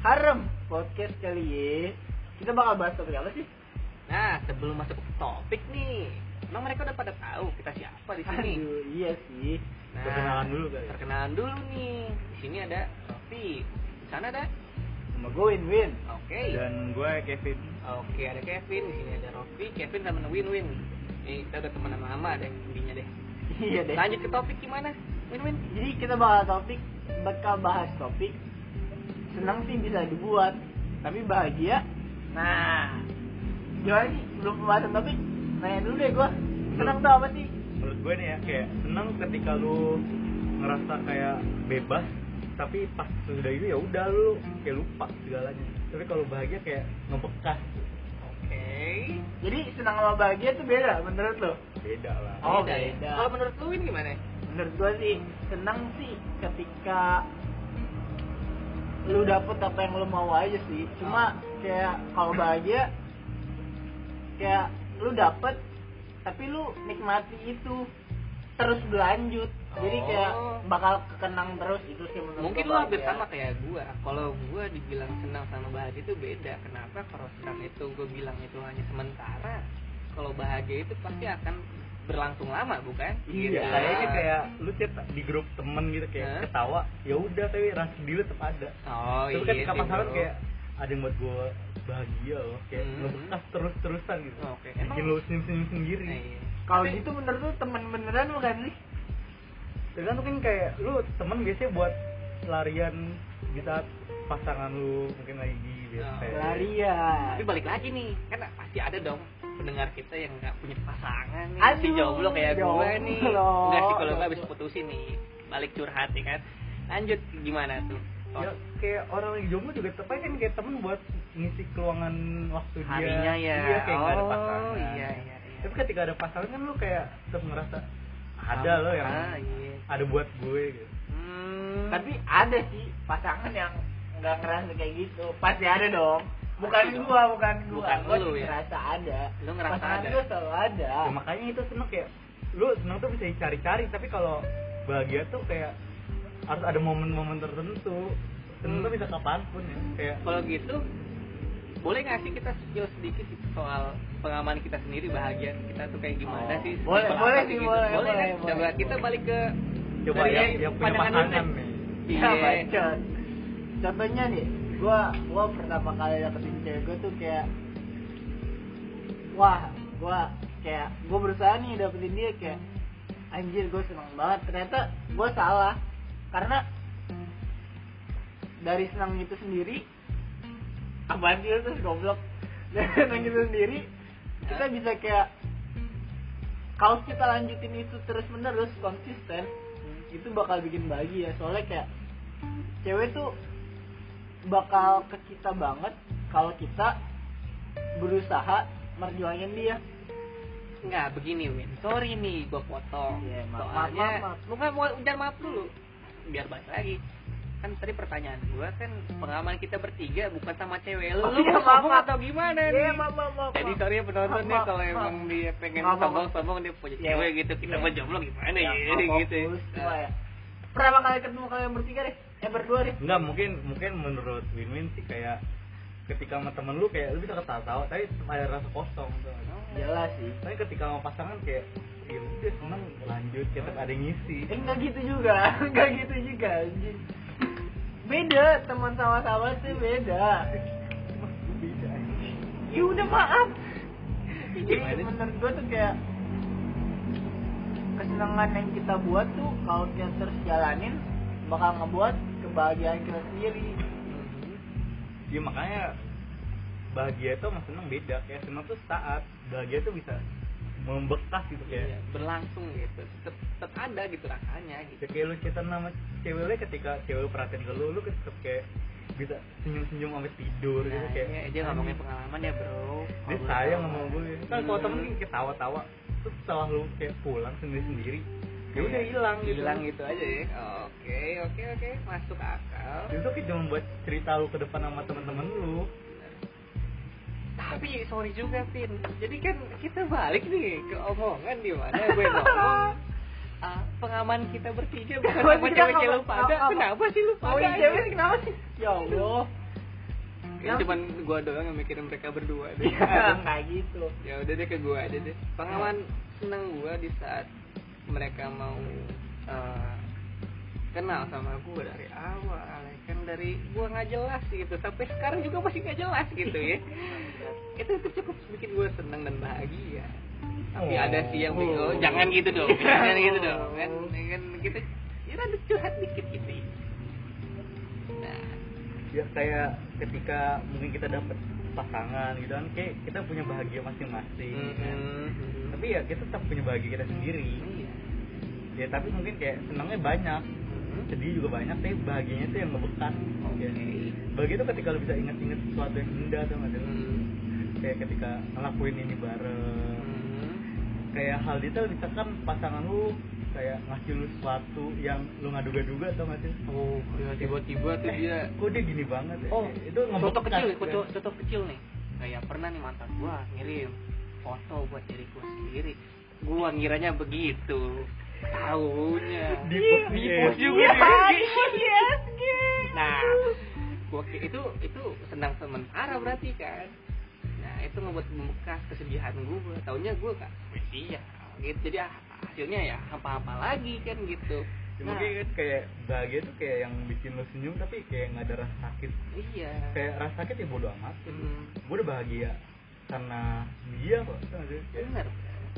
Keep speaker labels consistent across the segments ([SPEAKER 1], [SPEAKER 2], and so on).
[SPEAKER 1] Harem podcast kali ya. Kita bakal bahas topik apa sih?
[SPEAKER 2] Nah, sebelum masuk ke topik nih, emang mereka udah pada tahu kita siapa di sini.
[SPEAKER 1] Aduh, iya sih.
[SPEAKER 2] Nah,
[SPEAKER 3] Perkenalan dulu kali.
[SPEAKER 1] ya.
[SPEAKER 2] Perkenalan dulu nih. Di sini ada Rofi. Di sana ada
[SPEAKER 1] Sama gue Win Win.
[SPEAKER 2] Oke.
[SPEAKER 1] Iya.
[SPEAKER 3] Dan gue Kevin.
[SPEAKER 2] Oke, ada Kevin, di sini ada Rofi, Kevin temen Win-Win. Nih, kita udah teman lama deh, intinya deh.
[SPEAKER 1] iya deh.
[SPEAKER 2] Lanjut ke topik gimana? Win-Win.
[SPEAKER 1] Jadi kita bakal topik bakal bahas topik senang sih bisa dibuat, tapi bahagia. Nah, gimana nih sebelum pembahasan topik? Nanya dulu deh gue. Senang tuh apa sih?
[SPEAKER 3] Menurut gue nih ya kayak senang ketika lu ngerasa kayak bebas tapi pas sudah itu ya udah lu kayak lupa segalanya. Tapi kalau bahagia kayak ngebekas
[SPEAKER 2] Oke.
[SPEAKER 1] Jadi senang sama bahagia tuh beda menurut lo?
[SPEAKER 3] beda lah.
[SPEAKER 1] Oh,
[SPEAKER 2] Beda ya.
[SPEAKER 1] beda.
[SPEAKER 2] Kalau menurut lu Win gimana?
[SPEAKER 1] menurut gue sih senang sih ketika lu dapet apa yang lu mau aja sih cuma kayak kalau bahagia kayak lu dapet tapi lu nikmati itu terus berlanjut jadi kayak
[SPEAKER 2] Oh.
[SPEAKER 1] bakal kekenang terus itu sih menurut
[SPEAKER 2] Mungkin
[SPEAKER 1] gua
[SPEAKER 2] lu hampir
[SPEAKER 1] bahagia.
[SPEAKER 2] sama kayak gua. Kalau gua dibilang senang sama bahagia itu beda. Kenapa? Kalau senang itu gua bilang itu hanya sementara. Kalau bahagia itu pasti akan berlangsung lama, bukan?
[SPEAKER 3] Hmm. Iya,
[SPEAKER 2] Gitu.
[SPEAKER 3] kayaknya kayak lu chat di grup temen gitu kayak
[SPEAKER 2] Hah?
[SPEAKER 3] ketawa, ya udah tapi rasa sedih lu tetap ada.
[SPEAKER 2] Oh
[SPEAKER 3] Tapi
[SPEAKER 2] iya.
[SPEAKER 3] ketika
[SPEAKER 2] sih,
[SPEAKER 3] pasaran
[SPEAKER 2] bro.
[SPEAKER 3] kan kayak ada yang buat gue bahagia loh, kayak
[SPEAKER 2] Hmm. Oh,
[SPEAKER 3] ngebekas terus-terusan gitu.
[SPEAKER 2] Oke, emang-
[SPEAKER 3] Bikin lu senyum-senyum sendiri.
[SPEAKER 2] Nah, iya.
[SPEAKER 1] kalau
[SPEAKER 2] Tapi-
[SPEAKER 1] gitu menurut lu temen beneran bukan sih
[SPEAKER 3] tergantung kan kayak lu temen biasanya buat larian di saat pasangan lu mungkin lagi di bete
[SPEAKER 2] Oh.
[SPEAKER 1] lari ya
[SPEAKER 2] Tapi balik lagi nih, kan pasti ada dong pendengar kita yang nggak punya pasangan nih,
[SPEAKER 1] Aduh,
[SPEAKER 2] si jomblo kayak gue
[SPEAKER 1] jomblo.
[SPEAKER 2] nih. Enggak sih kalau nggak bisa putusin nih, balik curhat ya kan. Lanjut gimana tuh? Oh,
[SPEAKER 3] ya kayak orang lagi jomblo juga tetep aja kan kayak temen buat ngisi keluangan waktu
[SPEAKER 2] Harinya
[SPEAKER 3] dia
[SPEAKER 2] ya.
[SPEAKER 3] iya kayak nggak ada
[SPEAKER 2] Oh,
[SPEAKER 3] pasangan
[SPEAKER 2] iya, iya, iya.
[SPEAKER 3] tapi ketika ada pasangan kan lu kayak tetep ngerasa ada
[SPEAKER 2] sama-
[SPEAKER 3] loh yang
[SPEAKER 2] ah, iya.
[SPEAKER 3] ada buat gue gitu
[SPEAKER 2] Hmm,
[SPEAKER 1] tapi ada sih pasangan yang nggak ngerasa kayak gitu pasti ada dong bukan
[SPEAKER 2] Pasti dong.
[SPEAKER 1] gua bukan gua
[SPEAKER 2] Bukan
[SPEAKER 1] gua
[SPEAKER 2] lu ya?
[SPEAKER 1] ngerasa ada
[SPEAKER 2] Lu ngerasa
[SPEAKER 1] pasangan
[SPEAKER 2] ada.
[SPEAKER 1] gua selalu ada
[SPEAKER 2] Ah.
[SPEAKER 3] Ya, makanya itu seneng kayak lu seneng tuh bisa dicari-cari tapi kalau bahagia tuh kayak harus ada momen-momen tertentu seneng
[SPEAKER 2] Hmm.
[SPEAKER 3] tuh bisa kapanpun ya kayak
[SPEAKER 2] kalau gitu boleh nggak sih kita spill sedikit soal pengalaman kita sendiri bahagia kita tuh kayak gimana
[SPEAKER 3] Oh,
[SPEAKER 2] sih?
[SPEAKER 1] boleh,
[SPEAKER 2] Sesimpel
[SPEAKER 1] boleh
[SPEAKER 2] apa
[SPEAKER 1] sih,
[SPEAKER 2] gitu?
[SPEAKER 1] boleh,
[SPEAKER 2] boleh, kan?
[SPEAKER 1] boleh,
[SPEAKER 2] Coba
[SPEAKER 1] boleh.
[SPEAKER 2] kita balik ke
[SPEAKER 3] coba
[SPEAKER 2] Dari
[SPEAKER 3] ya yang punya
[SPEAKER 2] pandangan lu
[SPEAKER 3] pasangan
[SPEAKER 2] deh.
[SPEAKER 3] nih
[SPEAKER 1] Iya, bacot. contohnya nih gua gua pertama kali dapetin cewek gua tuh kayak wah gua kayak gua berusaha nih dapetin dia kayak anjir gua senang banget ternyata gua salah karena dari senang itu sendiri apaan sih lu terus goblok dari senang itu sendiri kita bisa kayak kalau kita lanjutin itu terus menerus konsisten itu bakal bikin bahagia soalnya kayak cewek tuh bakal ke kita banget kalau kita berusaha merjuangin dia
[SPEAKER 2] Enggak, begini Win. Sorry nih gua potong.
[SPEAKER 1] Iya, maaf,
[SPEAKER 2] Soalnya
[SPEAKER 1] maaf, maaf.
[SPEAKER 2] lu nggak mau udah maaf dulu. Biar balik lagi. Kan tadi pertanyaan gua kan pengalaman kita bertiga bukan sama cewek lu.
[SPEAKER 1] Oh,
[SPEAKER 2] lu
[SPEAKER 1] iya,
[SPEAKER 2] mau
[SPEAKER 1] maaf,
[SPEAKER 2] ngomong
[SPEAKER 1] maaf.
[SPEAKER 2] atau gimana nih?
[SPEAKER 1] Iya, maaf, maaf, maaf,
[SPEAKER 2] Tadi
[SPEAKER 1] maaf.
[SPEAKER 2] sorry ya penonton
[SPEAKER 1] Maaf,
[SPEAKER 2] nih kalau
[SPEAKER 1] maaf,
[SPEAKER 2] emang
[SPEAKER 1] maaf.
[SPEAKER 2] dia pengen
[SPEAKER 1] Maaf, maaf,
[SPEAKER 2] sombong-sombong dia punya
[SPEAKER 1] Iya.
[SPEAKER 2] cewek gitu. Kita
[SPEAKER 1] Iya.
[SPEAKER 2] mau jomblo gimana ya,
[SPEAKER 1] Yang nggak
[SPEAKER 2] gitu.
[SPEAKER 1] fokus, cuma ya. pertama kali ketemu kalian bertiga deh eh berdua deh
[SPEAKER 3] enggak mungkin mungkin menurut win-win sih kayak ketika sama temen lu kayak lu bisa ketawa-tawa tapi tetep ada rasa kosong tuh
[SPEAKER 1] jelas sih
[SPEAKER 3] tapi ketika sama pasangan kayak ya udah seneng lanjut tetap ada yang ngisi
[SPEAKER 1] Eh, enggak gitu juga, enggak gitu juga. anjing. Beda, teman sama-sama sih beda.
[SPEAKER 3] beda anjing.
[SPEAKER 1] Ya udah maaf.
[SPEAKER 3] Gimana
[SPEAKER 1] Jadi
[SPEAKER 3] sih?
[SPEAKER 1] menurut gue tuh kayak kesenangan yang kita buat tuh kalau kita terus jalanin bakal ngebuat kebahagiaan kita sendiri.
[SPEAKER 3] ya makanya bahagia itu sama senang beda kayak senang tuh saat bahagia tuh bisa membekas gitu
[SPEAKER 2] Iya,
[SPEAKER 3] kayak
[SPEAKER 2] berlangsung gitu. Tetap, tetap ada gitu rasanya gitu.
[SPEAKER 3] ya kayak lu cerita nama cewek lu ketika cewek lu perhatian ke lu lu tetep kayak bisa senyum senyum sampai tidur gitu
[SPEAKER 2] Nah,
[SPEAKER 3] kayak
[SPEAKER 2] iya, dia ngomongin pengalaman ya, Bro.
[SPEAKER 3] dia
[SPEAKER 2] Ngobrol
[SPEAKER 3] sayang
[SPEAKER 2] sama-
[SPEAKER 3] sama gue kan kalau
[SPEAKER 2] Hmm.
[SPEAKER 3] temen kan kayak tawa tawa terus setelah lu kayak pulang sendiri sendiri ya udah hilang gitu
[SPEAKER 2] hilang gitu aja ya oke oke oke masuk akal
[SPEAKER 3] itu kayak cuma buat cerita lu ke depan sama temen-temen lu
[SPEAKER 2] tapi sorry juga pin jadi kan kita balik nih ke omongan di mana gue ngomong ah, pengalaman kita bertiga bukan
[SPEAKER 1] Kalau Oh, iya,
[SPEAKER 2] sama
[SPEAKER 1] kita
[SPEAKER 2] cewek-cewek lu
[SPEAKER 1] ngomong-
[SPEAKER 2] pada
[SPEAKER 1] ngomong-
[SPEAKER 2] kenapa sih lu
[SPEAKER 1] Mau
[SPEAKER 2] pada
[SPEAKER 1] cewek kenapa sih? Ya Allah.
[SPEAKER 2] Kayaknya cuman Kan gua doang yang mikirin mereka berdua deh.
[SPEAKER 1] kayak gitu
[SPEAKER 2] ya udah deh ke gua aja deh. Pengalaman senang gua di saat mereka mau eh, kenal sama gua dari awal ya kan dari gua nggak jelas gitu sampai sekarang juga masih nggak jelas gitu ya itu, itu cukup bikin gua senang dan bahagia tapi
[SPEAKER 3] Oh.
[SPEAKER 2] ada sih yang bego
[SPEAKER 3] Oh.
[SPEAKER 2] jangan gitu dong jangan gitu dong kan kan kita ya ada curhat dikit gitu ya. nah
[SPEAKER 3] ya kayak ketika mungkin kita dapet pasangan gitu kan kayak kita punya bahagia masing-masing kan.
[SPEAKER 2] mm,
[SPEAKER 3] tapi ya kita tetap punya bahagia kita sendiri
[SPEAKER 2] iya.
[SPEAKER 3] ya tapi mungkin kayak senangnya banyak
[SPEAKER 2] Mm.
[SPEAKER 3] sedih juga banyak tapi bahagianya tuh yang ngebekas
[SPEAKER 2] Oke.
[SPEAKER 3] ya. bahagia tuh ketika lo bisa inget-inget sesuatu yang indah sama ada
[SPEAKER 2] Mm.
[SPEAKER 3] kayak ketika ngelakuin ini bareng
[SPEAKER 2] Mm.
[SPEAKER 3] kayak hal detail bisa kan pasangan lu kayak ngasih lu sesuatu yang lu nggak duga-duga atau nggak sih
[SPEAKER 2] Oh, ya tiba-tiba tuh dia
[SPEAKER 3] kok dia gini banget ya?
[SPEAKER 2] Oh,
[SPEAKER 3] Eh. itu
[SPEAKER 2] contoh
[SPEAKER 3] ngebekas
[SPEAKER 2] kecil,
[SPEAKER 3] kan.
[SPEAKER 2] contoh, contoh kecil nih. Kayak pernah nih mantan gua ngirim foto buat diriku sendiri. Gua ngiranya begitu. Taunya
[SPEAKER 3] Di post
[SPEAKER 2] Di
[SPEAKER 3] dia.
[SPEAKER 2] post juga
[SPEAKER 3] Iya,
[SPEAKER 2] dia. Nah, gua ki- itu itu senang sementara berarti kan. Nah, itu membuat membekas kesedihan gua. Taunya gua gak spesial gitu. Jadi ah, hasilnya ya apa-apa lagi kan gitu.
[SPEAKER 3] Ya,
[SPEAKER 2] Nah,
[SPEAKER 3] mungkin kan kayak bahagia tuh kayak yang bikin lo senyum tapi kayak nggak ada rasa sakit
[SPEAKER 2] iya.
[SPEAKER 3] kayak rasa sakit ya bodo amat
[SPEAKER 2] Hmm,
[SPEAKER 3] gue udah bahagia karena dia kok tau nggak sih? Kayak
[SPEAKER 2] bener.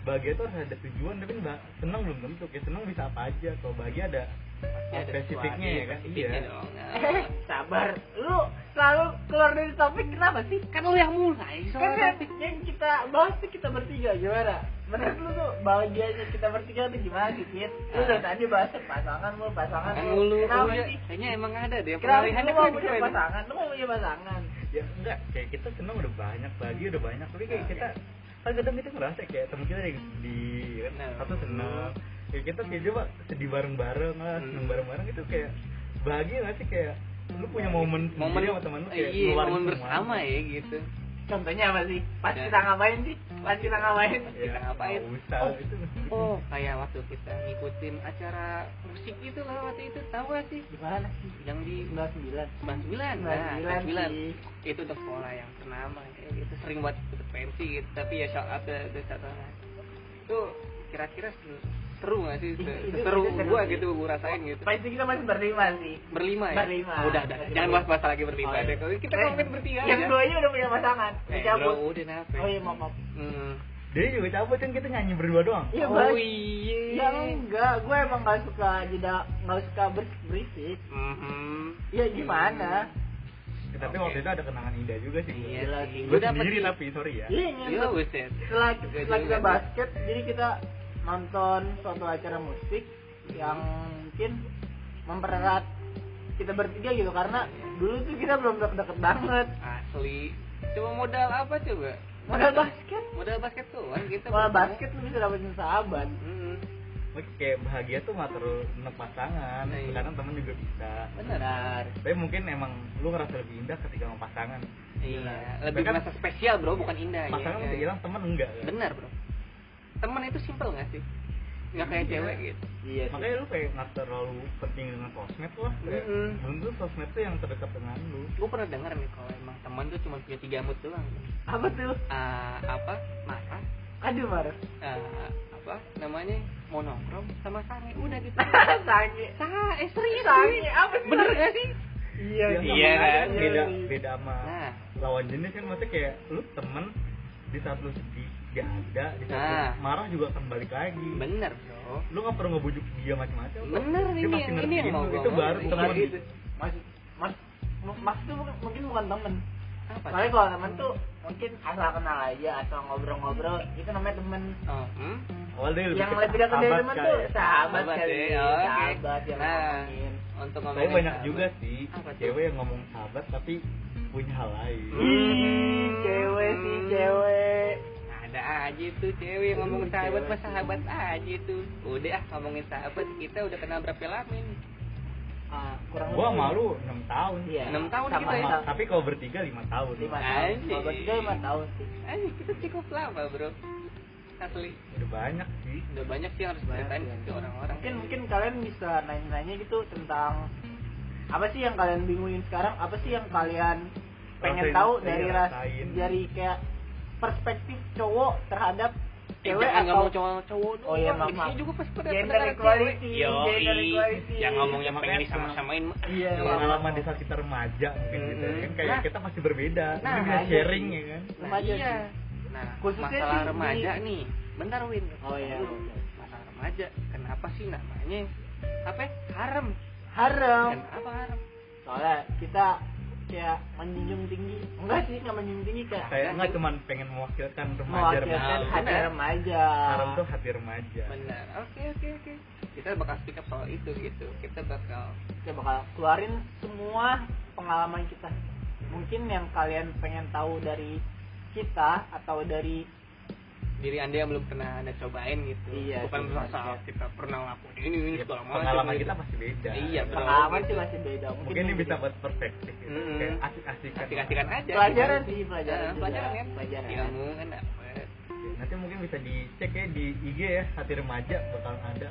[SPEAKER 3] bahagia tuh harus ada tujuan tapi bah- senang belum tentu kayak senang bisa apa aja kalau bahagia ada
[SPEAKER 2] Pasti ada
[SPEAKER 3] spesifiknya
[SPEAKER 2] sesuatu,
[SPEAKER 3] ya kan
[SPEAKER 2] Spesifiknya
[SPEAKER 3] Iya.
[SPEAKER 2] dong. Nah.
[SPEAKER 1] eh sabar lu selalu keluar dari topik kenapa sih
[SPEAKER 2] kan lo yang mulai
[SPEAKER 1] kan
[SPEAKER 2] soalnya
[SPEAKER 1] yang, yang kita bahas tuh kita bertiga gimana menurut lu tuh bahagianya kita bertiga tuh gimana sih Fit? lu dari tadi bahas pasangan lu pasangan
[SPEAKER 2] Ah. kan
[SPEAKER 1] lu
[SPEAKER 2] mulu
[SPEAKER 1] kenapa
[SPEAKER 2] Iya,
[SPEAKER 1] sih
[SPEAKER 2] kayaknya emang ada deh kan
[SPEAKER 1] kenapa
[SPEAKER 2] pengalihan
[SPEAKER 1] lu mau punya pasangan lu mau punya pasangan
[SPEAKER 3] ya enggak kayak kita senang udah banyak bahagia udah banyak tapi kayak
[SPEAKER 2] Nah,
[SPEAKER 3] kita kan kadang kita ngerasa kayak temen kita yang sedih kan
[SPEAKER 2] iya. Nah.
[SPEAKER 3] satu senang kayak kita kayak coba sedih bareng bareng lah
[SPEAKER 2] Hmm.
[SPEAKER 3] seneng bareng bareng itu kayak bahagia nggak sih kayak lu punya momen
[SPEAKER 2] Nah, gitu. momen
[SPEAKER 3] sendiri sama temen lu kayak
[SPEAKER 2] iya,
[SPEAKER 3] ngeluarin
[SPEAKER 2] momen
[SPEAKER 3] semua.
[SPEAKER 2] bersama ya gitu
[SPEAKER 1] contohnya apa sih pas
[SPEAKER 2] Ya.
[SPEAKER 1] kita ngapain sih pas kita ngapain
[SPEAKER 3] ya,
[SPEAKER 2] kita ngapain
[SPEAKER 3] nggak usah gitu.
[SPEAKER 2] oh,
[SPEAKER 3] itu
[SPEAKER 2] oh kayak waktu kita ngikutin acara musik itu lah waktu itu tahu gak sih
[SPEAKER 1] gimana sih
[SPEAKER 2] yang di
[SPEAKER 1] 99
[SPEAKER 2] 99 nah
[SPEAKER 1] 99 sih.
[SPEAKER 2] 99 itu udah sekolah yang ternama kayak gitu sering buat ikut pensi gitu tapi ya shout out ke ke satu orang. itu kira-kira seru- seru gak sih
[SPEAKER 1] Itu- itu-
[SPEAKER 2] seru
[SPEAKER 1] itu seru
[SPEAKER 2] gua
[SPEAKER 1] sih.
[SPEAKER 2] gitu gua rasain gitu
[SPEAKER 1] Pas itu kita masih berlima sih
[SPEAKER 2] berlima ya
[SPEAKER 1] Berlima.
[SPEAKER 2] Oh, udah udah
[SPEAKER 1] Masih
[SPEAKER 2] jangan
[SPEAKER 1] berlima.
[SPEAKER 2] bahas bahas lagi berlima
[SPEAKER 1] Oh, iya.
[SPEAKER 2] deh Kalau kita
[SPEAKER 1] Eh,
[SPEAKER 2] komen bertiga
[SPEAKER 1] yang
[SPEAKER 2] aja.
[SPEAKER 1] dua ini udah punya pasangan udah
[SPEAKER 2] eh,
[SPEAKER 1] cabut
[SPEAKER 2] bro, udah nape
[SPEAKER 1] oh iya maaf maaf
[SPEAKER 2] hmm.
[SPEAKER 3] dia juga cabut kan kita nyanyi berdua doang
[SPEAKER 1] Iya,
[SPEAKER 2] oh
[SPEAKER 1] Bang.
[SPEAKER 2] iya
[SPEAKER 1] ya enggak gue emang gak suka jeda gak suka ber- berisik
[SPEAKER 2] Mhm.
[SPEAKER 1] ya gimana
[SPEAKER 3] tapi
[SPEAKER 2] Oke.
[SPEAKER 3] waktu itu ada kenangan indah juga sih gua.
[SPEAKER 2] iya
[SPEAKER 1] Gila
[SPEAKER 2] lah
[SPEAKER 1] sih.
[SPEAKER 3] gue sendiri tapi sorry ya
[SPEAKER 1] Iya,
[SPEAKER 2] iya
[SPEAKER 1] nyentuh.
[SPEAKER 2] buset
[SPEAKER 1] setelah
[SPEAKER 2] Juga
[SPEAKER 1] setelah kita
[SPEAKER 2] juga.
[SPEAKER 1] basket, jadi kita nonton suatu acara musik
[SPEAKER 2] Hmm.
[SPEAKER 1] yang mungkin mempererat kita bertiga gitu karena
[SPEAKER 2] Iya.
[SPEAKER 1] dulu tuh kita belum deket-deket banget.
[SPEAKER 2] asli cuma modal apa coba
[SPEAKER 1] Modal basket,
[SPEAKER 2] modal basket tuh Iya. kan kita
[SPEAKER 1] modal basket lu bisa dapetin sahabat.
[SPEAKER 2] Mhm.
[SPEAKER 3] Mungkin kayak bahagia tuh nggak terlalu enak pasangan
[SPEAKER 2] Iya.
[SPEAKER 3] kadang temen juga bisa
[SPEAKER 2] beneran
[SPEAKER 3] tapi mungkin emang lu ngerasa lebih indah ketika sama pasangan
[SPEAKER 2] iya
[SPEAKER 3] Gila.
[SPEAKER 2] lebih
[SPEAKER 3] Bahkan-
[SPEAKER 2] merasa spesial bro bukan indah ya.
[SPEAKER 3] pasangan bisa hilang temen enggak kan?
[SPEAKER 2] benar bro teman itu simpel gak sih nggak kayak
[SPEAKER 3] Iya.
[SPEAKER 2] cewek gitu
[SPEAKER 1] Iya. sih.
[SPEAKER 3] makanya lu kayak nggak terlalu penting dengan sosmed lah kayak
[SPEAKER 2] Mm-mm.
[SPEAKER 3] belum tuh sosmed tuh yang terdekat dengan lu
[SPEAKER 2] gue pernah dengar nih kalau emang teman tuh cuma punya tiga mood doang
[SPEAKER 1] Apa tuh?
[SPEAKER 2] Ah, apa marah
[SPEAKER 1] Aduh, Mar.
[SPEAKER 2] ah, apa namanya mau nongkrong sama sange udah gitu
[SPEAKER 1] Sange.
[SPEAKER 2] Sa- eh serius
[SPEAKER 1] Sange,
[SPEAKER 2] sih.
[SPEAKER 1] apa sih?
[SPEAKER 2] bener gak sih
[SPEAKER 1] Iya.
[SPEAKER 3] Ya,
[SPEAKER 1] sih.
[SPEAKER 2] iya,
[SPEAKER 3] makanya
[SPEAKER 2] kan?
[SPEAKER 3] beda beda sama
[SPEAKER 2] nah
[SPEAKER 3] lawan jenis kan maksudnya kayak lu temen di saat lu sedih gak ada di saat lu
[SPEAKER 2] Nah.
[SPEAKER 3] marah juga akan balik lagi
[SPEAKER 2] bener bro
[SPEAKER 3] lu nggak perlu ngebujuk dia macam-macam kok.
[SPEAKER 2] bener
[SPEAKER 3] Dia
[SPEAKER 2] ini
[SPEAKER 3] pasti
[SPEAKER 2] yang ini yang
[SPEAKER 3] ngertiin
[SPEAKER 2] mau Iya,
[SPEAKER 3] lu.
[SPEAKER 2] gue
[SPEAKER 3] itu baru
[SPEAKER 1] Bukan
[SPEAKER 3] temen
[SPEAKER 1] gitu. Maksud, mas, maksud tuh bukan- mungkin bukan temen.
[SPEAKER 2] apa
[SPEAKER 1] Soalnya kalau temen tuh mungkin asal kenal aja, asal ngobrol-ngobrol itu namanya temen.
[SPEAKER 2] oh, hmm?
[SPEAKER 3] awal dia
[SPEAKER 1] yang
[SPEAKER 3] ke
[SPEAKER 1] lebih dekat dari teman
[SPEAKER 3] sahabat kali
[SPEAKER 1] tuh
[SPEAKER 3] ya.
[SPEAKER 1] sahabat
[SPEAKER 2] Sahabat
[SPEAKER 1] kali
[SPEAKER 2] ya, oke.
[SPEAKER 1] sahabat yang
[SPEAKER 2] Nah.
[SPEAKER 1] ngomongin
[SPEAKER 2] untuk
[SPEAKER 3] tapi
[SPEAKER 2] ngomongin
[SPEAKER 3] banyak
[SPEAKER 2] apa?
[SPEAKER 3] juga sih
[SPEAKER 2] Apa tuh?
[SPEAKER 3] cewek yang ngomong sahabat tapi punya hal lain
[SPEAKER 1] Hmm. Ih, cewek sih cewek
[SPEAKER 2] ada aja tuh cewek yang ngomongin
[SPEAKER 1] Aduh,
[SPEAKER 2] sahabat
[SPEAKER 1] cewek
[SPEAKER 2] mas sahabat aja tuh udah ah ngomongin sahabat kita udah kenal berapa lama ini
[SPEAKER 1] Ah, kurang
[SPEAKER 3] gua
[SPEAKER 1] lebih.
[SPEAKER 3] sama lu 6 tahun
[SPEAKER 1] Iya.
[SPEAKER 2] enam tahun
[SPEAKER 1] Sama-
[SPEAKER 2] kita ya.
[SPEAKER 1] sama-
[SPEAKER 3] Ma- tapi kalau bertiga 5 tahun
[SPEAKER 1] lima tahun
[SPEAKER 2] Anjing.
[SPEAKER 1] kalau bertiga lima tahun sih
[SPEAKER 2] Ayo, kita cukup lama bro asli
[SPEAKER 3] udah banyak sih
[SPEAKER 2] udah banyak sih yang harus
[SPEAKER 1] Banyak
[SPEAKER 2] diceritain
[SPEAKER 1] ya.
[SPEAKER 2] ke orang-orang
[SPEAKER 1] mungkin mungkin kalian bisa nanya-nanya gitu tentang apa sih yang kalian bingungin sekarang apa sih yang kalian pengen
[SPEAKER 3] Rasain-
[SPEAKER 1] tahu
[SPEAKER 3] iya,
[SPEAKER 1] dari ras
[SPEAKER 3] rasain.
[SPEAKER 1] dari kayak perspektif cowok terhadap
[SPEAKER 2] Eh,
[SPEAKER 1] cewek
[SPEAKER 2] jangan
[SPEAKER 1] atau
[SPEAKER 2] ngomong cowok cowok doang.
[SPEAKER 1] Oh, iya,
[SPEAKER 2] Di
[SPEAKER 1] maaf.
[SPEAKER 2] sini juga pasti pada
[SPEAKER 1] gender
[SPEAKER 2] pendengar cewek.
[SPEAKER 1] equality,
[SPEAKER 2] Yoi.
[SPEAKER 1] gender equality.
[SPEAKER 2] Yang ngomongnya
[SPEAKER 1] Makanya
[SPEAKER 2] pengen disama-samain.
[SPEAKER 1] Iya, Hmm.
[SPEAKER 2] Iya.
[SPEAKER 3] pengalaman di saat kita remaja mungkin gitu
[SPEAKER 2] Mm-mm.
[SPEAKER 3] kan kayak
[SPEAKER 2] Nah.
[SPEAKER 3] kita masih berbeda
[SPEAKER 1] Nah,
[SPEAKER 3] mungkin bisa
[SPEAKER 1] aja.
[SPEAKER 3] sharing ya kan
[SPEAKER 2] Nah,
[SPEAKER 1] Remaja
[SPEAKER 2] iya.
[SPEAKER 1] sih.
[SPEAKER 2] Nah,
[SPEAKER 1] Khususnya
[SPEAKER 2] masalah
[SPEAKER 1] sih di-
[SPEAKER 2] remaja nih. Bentar, Win.
[SPEAKER 1] Oh, iya.
[SPEAKER 2] Dulu. Masalah remaja. Kenapa sih namanya? Apa? ya? Harem.
[SPEAKER 1] harem
[SPEAKER 2] Kenapa harem?
[SPEAKER 1] soalnya kita kayak menjunjung tinggi enggak sih nggak menjunjung tinggi kayak
[SPEAKER 3] kayak nggak cuman pengen mewakilkan remaja remaja
[SPEAKER 1] mewakilkan
[SPEAKER 2] remaja.
[SPEAKER 1] hati
[SPEAKER 2] Benar.
[SPEAKER 1] remaja
[SPEAKER 3] Haram tuh hati remaja
[SPEAKER 2] Benar. Oke, oke, oke. Kita bakal speak up soal itu gitu. Kita bakal
[SPEAKER 1] kita bakal keluarin semua pengalaman kita mungkin yang kalian pengen tahu dari kita atau dari
[SPEAKER 2] diri anda yang belum pernah anda cobain gitu
[SPEAKER 1] Iya,
[SPEAKER 2] bukan
[SPEAKER 1] sih,
[SPEAKER 2] merasa
[SPEAKER 1] iya.
[SPEAKER 2] kita pernah ngelakuin ini ini
[SPEAKER 3] Ya,
[SPEAKER 2] segala macam
[SPEAKER 3] pengalaman
[SPEAKER 2] gitu.
[SPEAKER 3] kita masih beda Gitu.
[SPEAKER 2] Iya, benar.
[SPEAKER 1] pengalaman sih Hmm. masih beda
[SPEAKER 3] mungkin ini bisa buat perspektif gitu.
[SPEAKER 2] Mm-mm.
[SPEAKER 3] kayak asik-asikan
[SPEAKER 2] asik-asikan aja
[SPEAKER 1] Pelajaran
[SPEAKER 2] gitu.
[SPEAKER 1] sih, pelajaran
[SPEAKER 2] Ah,
[SPEAKER 1] juga.
[SPEAKER 2] pelajaran kan
[SPEAKER 1] Pelajaran.
[SPEAKER 2] ilmu kan dapet
[SPEAKER 3] nanti mungkin bisa dicek ya di IG ya hati remaja bakal ada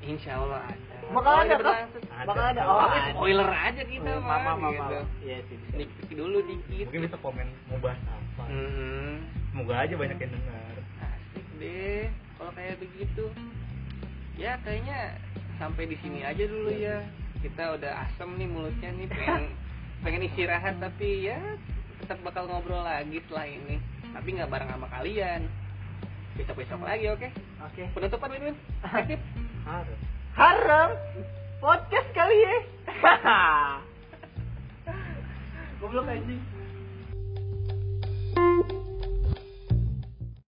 [SPEAKER 2] insya Allah ada
[SPEAKER 1] bakal
[SPEAKER 2] Oh,
[SPEAKER 1] ada
[SPEAKER 2] iya,
[SPEAKER 1] kok
[SPEAKER 2] berlangsung.
[SPEAKER 3] Ada.
[SPEAKER 1] bakal ada
[SPEAKER 2] Oh,
[SPEAKER 1] oh
[SPEAKER 2] ini
[SPEAKER 1] ada.
[SPEAKER 2] spoiler aja kita
[SPEAKER 1] Oh,
[SPEAKER 2] mah
[SPEAKER 1] mama mama
[SPEAKER 2] gitu
[SPEAKER 1] iya sih bisa.
[SPEAKER 2] sneak peek dulu dikit Mm-hmm.
[SPEAKER 3] mungkin bisa komen mau bahas apa
[SPEAKER 2] Hmm. Mm-mm.
[SPEAKER 3] semoga aja banyak yang dengar
[SPEAKER 2] asik deh kalau kayak begitu ya kayaknya sampai di sini aja dulu ya kita udah asem nih mulutnya nih pengen pengen istirahat tapi ya tetap bakal ngobrol lagi setelah ini tapi nggak bareng sama kalian besok besok lagi oke
[SPEAKER 1] oke
[SPEAKER 2] penutupan Win Win Kasih.
[SPEAKER 3] harus
[SPEAKER 1] haram podcast kali ya gue belum anjing